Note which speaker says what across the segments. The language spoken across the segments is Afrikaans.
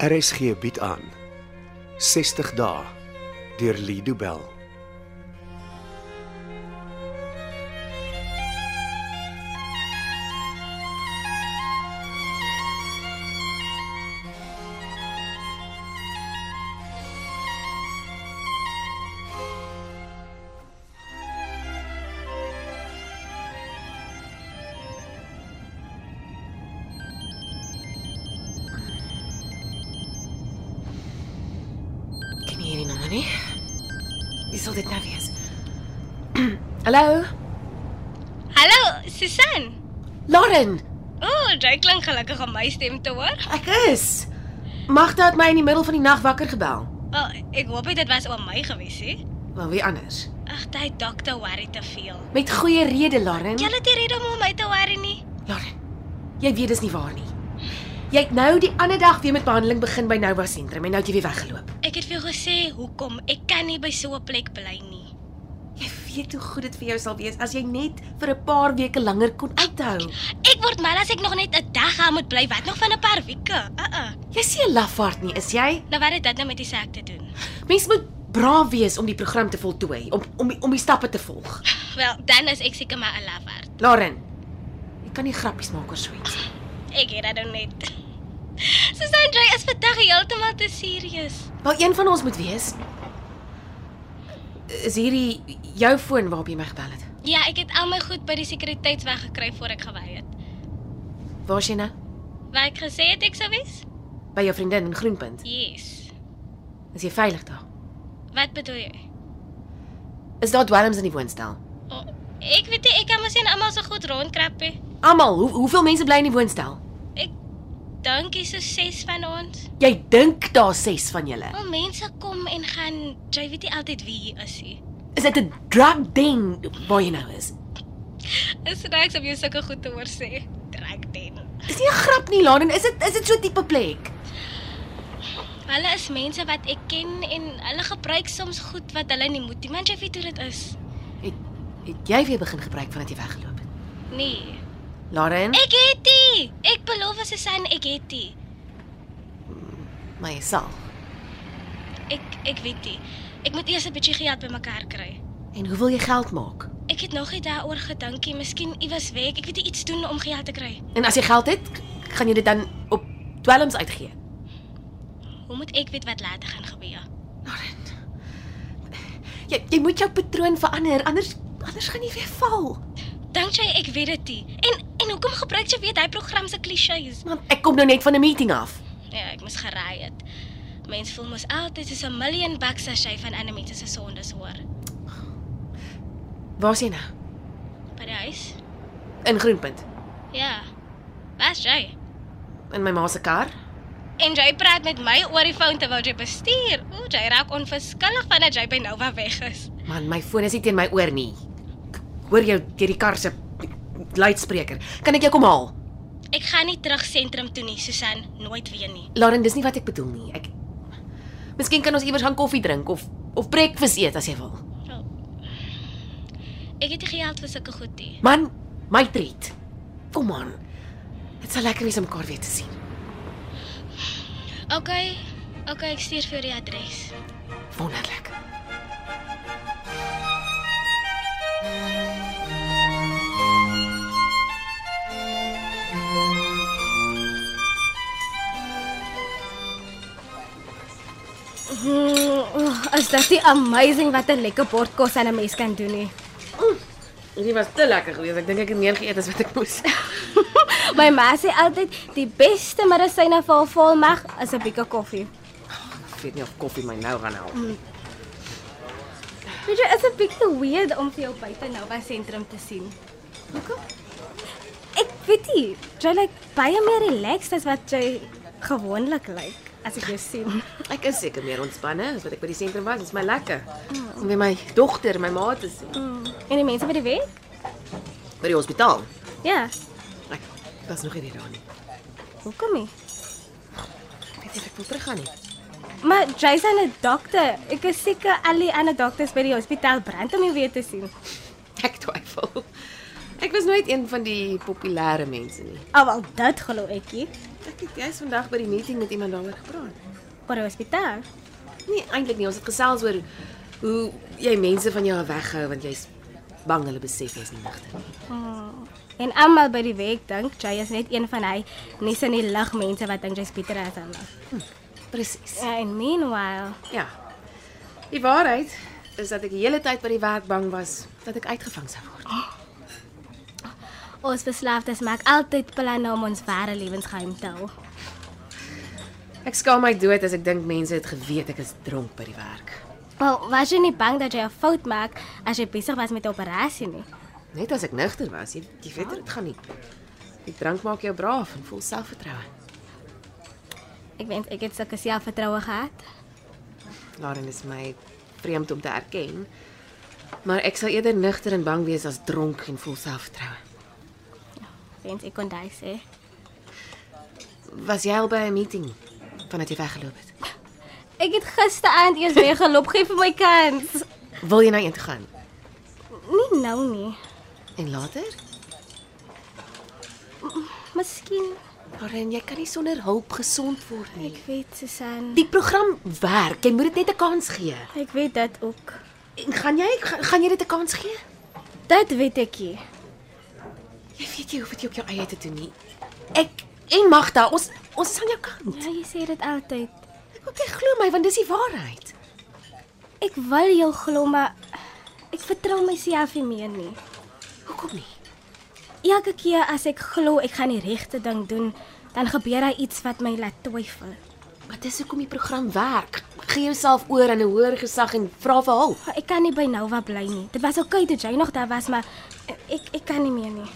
Speaker 1: RSG bied aan 60 dae deur Lido Bell.
Speaker 2: Ken jy hierdie nommer nie? Wie sou dit nou wees? Hallo,
Speaker 3: Hallo, Susan.
Speaker 2: Lauren.
Speaker 3: Ooh, jy klink gelukkig om my stem te hoor.
Speaker 2: Ek is. Magda het my in die middel van die nag wakker gebel.
Speaker 3: O, oh, ek hoop nie dit was oor my gewees hè.
Speaker 2: Maar wie anders?
Speaker 3: Ag, jy dokter worry te veel.
Speaker 2: Met goeie rede, Lauren.
Speaker 3: Jy het nie rede om oor my te worry nie.
Speaker 2: Lauren. Jy weet dis nie waar nie. Jy het nou die ander dag weer met behandeling begin by Nova Sentrum en nou het jy weer weggeloop.
Speaker 3: Ek het vir jou gesê hoekom ek kan nie by so 'n plek bly nie.
Speaker 2: Jy weet hoe goed dit vir jou sal wees as jy net vir 'n paar weke langer kon uithou.
Speaker 3: Ek word mal as ek nog net 'n dag aan moet bly, wat nog van 'n paar weke. Uh uh.
Speaker 2: Jy's nie 'n lafaard nie, is jy?
Speaker 3: Nou wat het dit nou met die saak te doen?
Speaker 2: Mens moet braaf wees om die program te voltooi, om om die- om die stappe te volg.
Speaker 3: Wel, dan is ek seker maar 'n lafaard.
Speaker 2: Lauren, jy kan nie grappies maak oor so iets nie.
Speaker 3: Ek het dit nou net. Susan, jy is vandag heeltemal te serieus.
Speaker 2: Wel een van ons moet wees. Is hierdie jou foon waarop jy my gebel het?
Speaker 3: Ja, ek het al my goed by die sekuriteitsweg gekry voor ek gewy het.
Speaker 2: Waar is jy nou?
Speaker 3: Wat ek gesê het ek sou wees?
Speaker 2: By jou vriendin in Groenpunt.
Speaker 3: Yes.
Speaker 2: Is jy veilig daar?
Speaker 3: Wat bedoel jy?
Speaker 2: Is daar dwelms in die woonstel?
Speaker 3: O, ek weet nie, ek kan mos nie almal so goed rondkrap nie.
Speaker 2: Almal, hoe, hoeveel mense bly in die woonstel?
Speaker 3: Ek dink is so ses van ons.
Speaker 2: Jy dink daar 6 van julle.
Speaker 3: Al mense kom en gaan, jy weet nie altyd wie hier is nie.
Speaker 2: Is dit 'n drug den waar jy nou is?
Speaker 3: Is nou snaaks om jou sulke goed te hoor sê. Trek den.
Speaker 2: Dis nie 'n grap nie, Laden, is dit is dit so 'n tipe plek?
Speaker 3: Hulle is mense wat ek ken en hulle gebruik soms goed wat hulle nie moet nie. Man, jy weet hoe dit is.
Speaker 2: Het, het jy weer begin gebruik vandat jy weggeloop het?
Speaker 3: Nee.
Speaker 2: Lauren,
Speaker 3: Ek het dit. Ek beloof as Susan, ek het dit.
Speaker 2: maar jy sal.
Speaker 3: Ek ek weet dit. Ek moet eers 'n bietjie geld bymekaar kry.
Speaker 2: En hoe wil jy geld maak?
Speaker 3: Ek het nog nie daaroor gedink nie. Miskien iewers werk. Ek weet nie iets doen om geld te kry.
Speaker 2: En as jy geld het, k- gaan jy dit dan op dwelms uitgee.
Speaker 3: Hoe moet ek weet wat later gaan gebeur?
Speaker 2: Jy jy moet jou patroon verander, anders anders gaan jy weer val.
Speaker 3: Dink jy ek weet dit nie? En en hoekom gebruik jy weer daai program se klisjées?
Speaker 2: Want ek kom nou net van 'n meeting af.
Speaker 3: Ja, ek moes geraai het. Mens voel mos altyd soos 'n miljoen bucks as jy van ander mense se sondes hoor.
Speaker 2: Waar's jy nou?
Speaker 3: By die huis?
Speaker 2: In Groenpunt,
Speaker 3: Ja. Was jy?
Speaker 2: in my ma se kar.
Speaker 3: En jy praat met my oor die foon terwyl jy bestuur. Ooh, jy raak onverskillig vandat jy by Nova weg is.
Speaker 2: Man, my foon is nie teen my oor nie. Ek hoor jou deur die kar se luidspreker. Kan ek jou kom haal?
Speaker 3: Ek gaan nie terug sentrum toe nie, Susan, nooit weer nie.
Speaker 2: Lauren, dis nie wat ek bedoel nie. Ek Miskien kan ons iewers gaan koffie drink of of breakfast eet as jy wil.
Speaker 3: Oh. Ek het nie geld vir sulke goed nie.
Speaker 2: Man, my treat. Kom aan. Dit sal lekker wees om mekaar weer te sien.
Speaker 3: OK. OK, ek stuur vir jou die adres.
Speaker 2: Wonderlik.
Speaker 4: Oh, is dit nie amazing wat 'n lekker bord kos aan 'n mens kan doen nie.
Speaker 2: Dit was te lekker geweest. Ek dink ek het meer geëet as wat ek moes.
Speaker 4: My ma sê altyd die beste medisyne vir 'n volmag is 'n bietjie koffie.
Speaker 2: Ek weet nie of koffie my nou gaan help.
Speaker 4: Weet jy, is 'n bietjie weird om vir jou buite Nova sentrum te sien. Hoekom? Ek weet nie, jy lyk baie meer relaxed as wat jy gewoonlik lyk as ek jou sien.
Speaker 2: Ek is seker meer ontspanne as wat ek by die sentrum was. Dit is my lekker. Om weer my dogter, my ma te sien
Speaker 4: En die mense by die werk?
Speaker 2: by die hospitaal.
Speaker 4: Ja.
Speaker 2: Ek was nog nie daar nie.
Speaker 4: Hoekom nie?
Speaker 2: Ek weet nie of ek wil teruggaan nie.
Speaker 4: Maar jy's 'n dokter. Ek is seker al die ander dokters by die hospitaal brand om jou weer te sien.
Speaker 2: Ek twyfel. Ek was nooit een van die populêre mense nie.
Speaker 3: Almal dit glo ekie.
Speaker 2: Ek het jous vandag by die meeting met iemand daaroor gepraat.
Speaker 3: Oor 'n hospitaal.
Speaker 2: Nee, eintlik nie. Ons het gesels oor hoe jy mense van jou af weghou want jy's bang hulle besef jy's nie nigter nie.
Speaker 3: En almal by die werk dink jy is net een van hy nes in die lig mense wat dink jy's beter as hulle.
Speaker 2: Presies.
Speaker 3: And meanwhile,
Speaker 2: Ja. Die waarheid is dat ek die hele tyd by die werk bang was dat ek uitgevang sou word.
Speaker 3: ons verslaafdes maak altyd planne om ons ware lewensgeheim te hou.
Speaker 2: Ek skaam my dood as ek dink mense het geweet ek is dronk by die werk.
Speaker 3: Wel, was jy nie bang dat jy 'n fout maak as jy besig was met 'n operasie nie?
Speaker 2: Net as ek nigter was, jy, jy weet dit gaan nie. Die drank maak jou braaf en vol selfvertroue.
Speaker 3: Ek wens ek het sulke selfvertroue gehad.
Speaker 2: Daarin is my vreemd om te erken. Maar ek sal eerder nigter en bang wees as dronk en vol selfvertroue.
Speaker 3: Wens ek kon daai sê.
Speaker 2: Was jy al by 'n meeting vandat jy weggeloop het?
Speaker 3: Ek het gisteraand eers weggeloop, gee vir my kans.
Speaker 2: Wil jy nou eend gaan?
Speaker 3: Nie nou nie.
Speaker 2: En later?
Speaker 3: Miskien,
Speaker 2: Karen, jy kan nie sonder hulp gesond word nie.
Speaker 3: ek weet Susan.
Speaker 2: Die program werk. Jy moet dit net 'n kans gee.
Speaker 3: Ek weet dit ook.
Speaker 2: En gaan jy gaan, gaan jy dit 'n kans gee?
Speaker 3: Dit weet ek nie.
Speaker 2: Jy weet jy hoef dit nie op jou eie te doen nie. Ek en Magda, ons ons is aan jou kant.
Speaker 3: Ja, jy sê dit altyd.
Speaker 2: Ek hoop jy glo my want dis die waarheid.
Speaker 3: Ek wil jou glo, maar ek vertrou myself nie meer nie.
Speaker 2: Hoekom nie?
Speaker 3: Elke keer as ek glo ek gaan die regte ding doen, dan gebeur daar iets wat my laat twyfel.
Speaker 2: Maar dis hoekom die program werk. Gee jouself oor aan 'n hoër gesag en vra vir hulp.
Speaker 3: Maar Ek kan nie by Nova bly nie. Dit was oukei toe jy nog daar was, maar ek ek kan nie meer nie.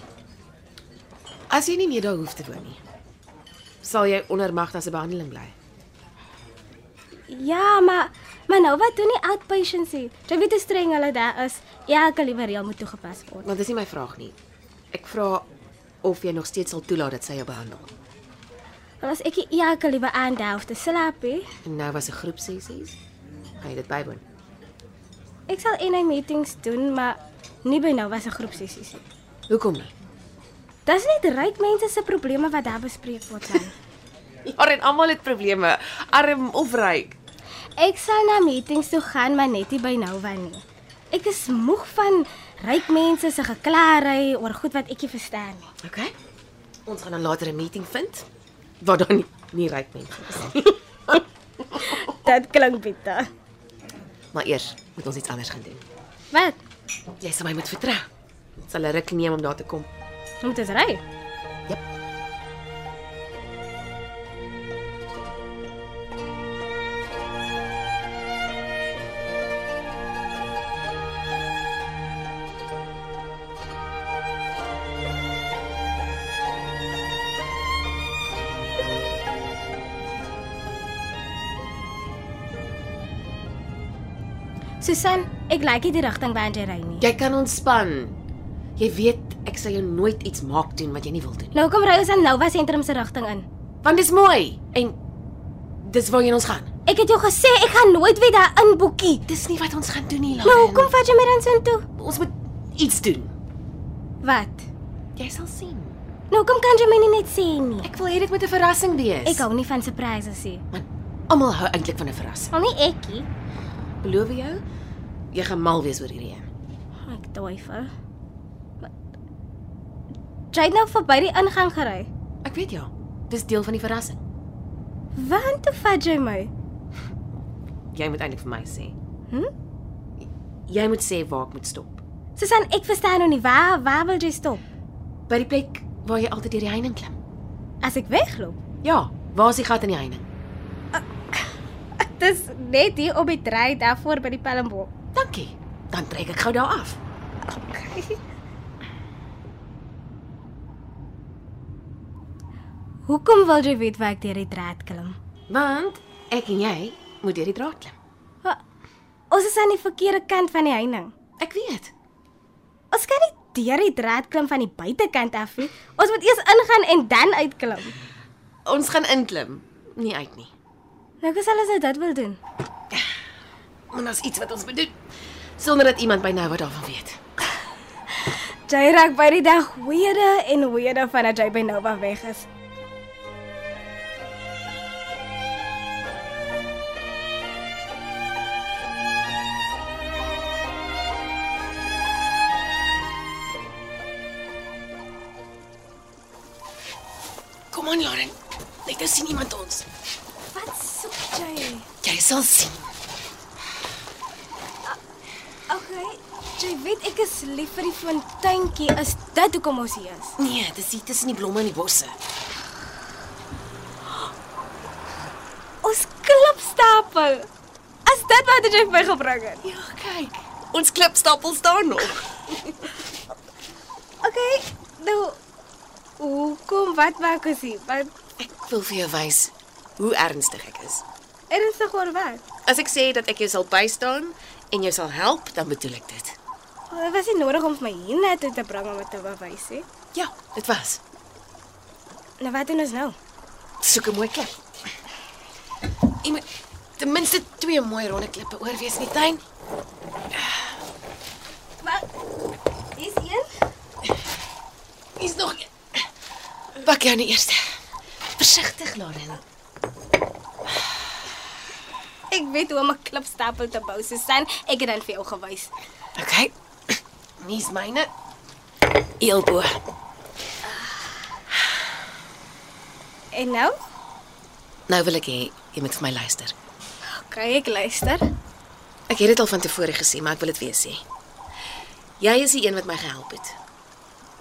Speaker 2: As jy nie meer daar hoef te woon nie, sal jy onder Magda se behandeling bly.
Speaker 3: Ja, maar maar Nova doen nie outpatients nie. Jy weet hoe streng hulle daar is. Ja, Elke liewe reël moet toegepas word.
Speaker 2: Want dis nie my vraag nie. Ek vra of jy nog steeds sal toelaat dat sy jou behandel.
Speaker 3: Maar as ek nie elke liewe aand daar hoef te slaap nie,
Speaker 2: En nou was 'n groep sessies. Gaan jy dit bywoon?
Speaker 3: ek sal in my meetings doen, maar nie by Nova se groepsessies nie.
Speaker 2: Hoekom nie?
Speaker 3: Dis net ryk mense se probleme wat daar bespreek word dan.
Speaker 2: Ja, en almal het probleme, arm of ryk.
Speaker 3: Ek sal na meetings toe gaan, maar net nie by Nova nie. Ek is moeg van ryk mense se geklaarry oor goed wat ek nie verstaan nie.
Speaker 2: OK. Ons gaan dan later 'n meeting vind waar daar nie, nie ryk mense is nie.
Speaker 3: Dit klink bitter.
Speaker 2: Maar eers moet ons iets anders gaan doen.
Speaker 3: Wat?
Speaker 2: Jy sal my moet vertrou. Dit sal 'n ruk neem om daar te kom.
Speaker 3: Moet ons ry?
Speaker 2: Jep.
Speaker 3: Susan, ek like nie die rigting waarin jy ry nie.
Speaker 2: Jy kan ontspan. Jy weet ek sal jou nooit iets maak doen wat jy nie wil doen nie.
Speaker 3: Nou kom ry ons aan Nova sentrum se rigting in.
Speaker 2: Want dis mooi en dis waarheen ons gaan.
Speaker 3: Ek het jou gesê ek gaan nooit weer daar inboekie.
Speaker 2: Dis nie wat ons gaan doen nie,
Speaker 3: Nou
Speaker 2: Lauren.
Speaker 3: hoekom vat jy my dan sin toe?
Speaker 2: ons moet iets doen.
Speaker 3: Wat?
Speaker 2: Jy sal sien.
Speaker 3: Nou hoekom kan jy my nie net sê nie?
Speaker 2: Ek wil hê dit moet 'n verrassing wees.
Speaker 3: Ek hou nie van surprises nie.
Speaker 2: Man, almal hou eintlik van 'n verrassing.
Speaker 3: Al nie ekkie.
Speaker 2: Beloof jou, jy gaan mal wees oor hierdie een.
Speaker 3: Ek twyfel. Maar- Jy het nou verby die ingang gery.
Speaker 2: Ek weet ja. Dis deel van die verrassing.
Speaker 3: Waar toe vat jy my?
Speaker 2: Jy moet eintlik vir my sê.
Speaker 3: Hm?
Speaker 2: Jy moet sê waar ek moet stop.
Speaker 3: Susan, ek verstaan nou nie waar waar wil jy stop?
Speaker 2: By die plek waar jy altyd deur die heining klim.
Speaker 3: As ek wegloop.
Speaker 2: Ja, waar is die gat in die heining?
Speaker 3: Dis net hier op die draai daarvoor by die Palmbok.
Speaker 2: Dankie. Dan trek ek gou daar af.
Speaker 3: Hoekom wil jy weet waar ek deur die draad klim?
Speaker 2: Want ek en jy moet deur die draad klim.
Speaker 3: Wa- Ons is aan die verkeerde kant van die heining.
Speaker 2: Ek weet.
Speaker 3: Ons kan nie deur die draad klim van die buitekant af nie. Ons moet eers ingaan en dan uitklim.
Speaker 2: Ons gaan inklim, nie uit nie.
Speaker 3: Nou kas alles dit wil doen.
Speaker 2: Want daar's iets wat ons moet doen sonder dat iemand by nou wat daarvan weet.
Speaker 3: Jy raak by die dag weerde en weerde vandat jy by Nova weg is.
Speaker 2: Kom aan, Lauren. Net as sien iemand ons.
Speaker 3: Wat soek jy?
Speaker 2: Jy sal sien.
Speaker 3: Okay, jy weet ek is lief vir die fonteintjie. Is dit hoekom ons hier is?
Speaker 2: Nee, dis hier tussen die blomme en die bosse.
Speaker 3: Ons klipstappe. Is dit wat jy vir my gebring het?
Speaker 2: Ja, kyk. Ons klipstapel staan nog.
Speaker 3: Okay, nou hoekom wat maak ons hier? Wat
Speaker 2: Ek wil vir jou wys hoe ernstig ek is.
Speaker 3: ernstig oor wat?
Speaker 2: As ek sê dat ek jou sal bystaan en jou sal help, dan bedoel ek dit.
Speaker 3: Oh, dit was nie nodig om vir my hiernatoe te bring om dit te bewys nie.
Speaker 2: Ja, dit was.
Speaker 3: Nou wat doen ons nou?
Speaker 2: Soek 'n mooi klip. Jy moet ten minste twee mooi ronde klippe oor wees in die tuin.
Speaker 3: Wat? Dis een?
Speaker 2: Hier's nog een. Pak jou aan die eerste. Versigtig, Lauren.
Speaker 3: Ek weet hoe om 'n klipstapel te bou, Susan. Ek het dit vir jou gewys.
Speaker 2: Okay. Nie's myne. Eelbo.
Speaker 3: En nou?
Speaker 2: Nou wil ek hê jy moet vir my luister.
Speaker 3: Okay, ek luister.
Speaker 2: Ek het dit al van tevore gesê, maar ek wil dit weer sê. Jy is die een wat my gehelp het.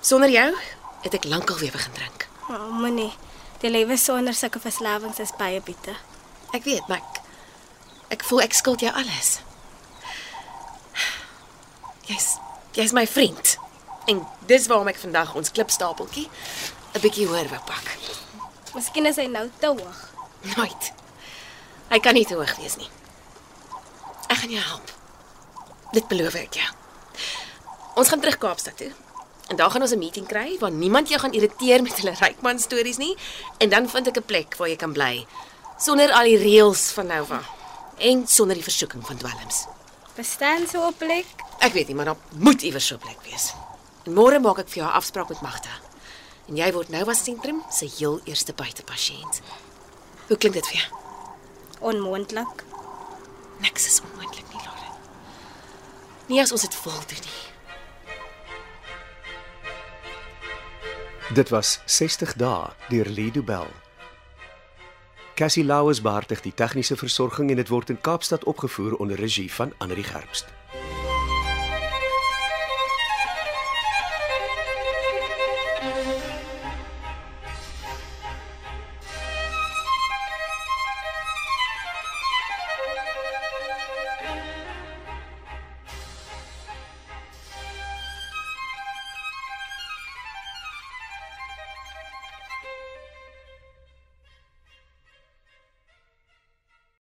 Speaker 2: Sonder jou het ek lankal weer begin drink.
Speaker 3: Oh, moenie. Die lewe sonder sulke verslawings is baie bitter.
Speaker 2: Ek weet, maar ek, ek voel ek skuld jou alles. Jy's jy's my vriend. En dis waarom ek vandag ons klipstapeltjie 'n bietjie hoër wou pak.
Speaker 3: Miskien is hy nou te hoog.
Speaker 2: Nooit. Hy kan nie te hoog wees nie. Ek gaan jou help. Dit beloof ek jou. Ons gaan terug Kaapstad toe. En daar gaan ons 'n meeting kry waar niemand jou gaan irriteer met hulle rykman stories nie en dan vind ek 'n plek waar jy kan bly sonder al die reëls van Nova en sonder die versoeking van dwelms.
Speaker 3: Bestaan so 'n plek?
Speaker 2: Ek weet nie, maar daar moet iewers so 'n plek wees. En môre maak ek vir jou 'n afspraak met Magda. En jy word Nova sentrum se heel eerste buitepasiënt. Hoe klink dit vir jou?
Speaker 3: Onmoontlik.
Speaker 2: Niks is onmoontlik nie, Lauren. Nie as ons dit wil doen nie.
Speaker 1: Dit was 60 dae deur Lido Bell. Cassie Lauers beheer die tegniese versorging en dit word in Kaapstad opgevoer onder regie van Anri Gerbst.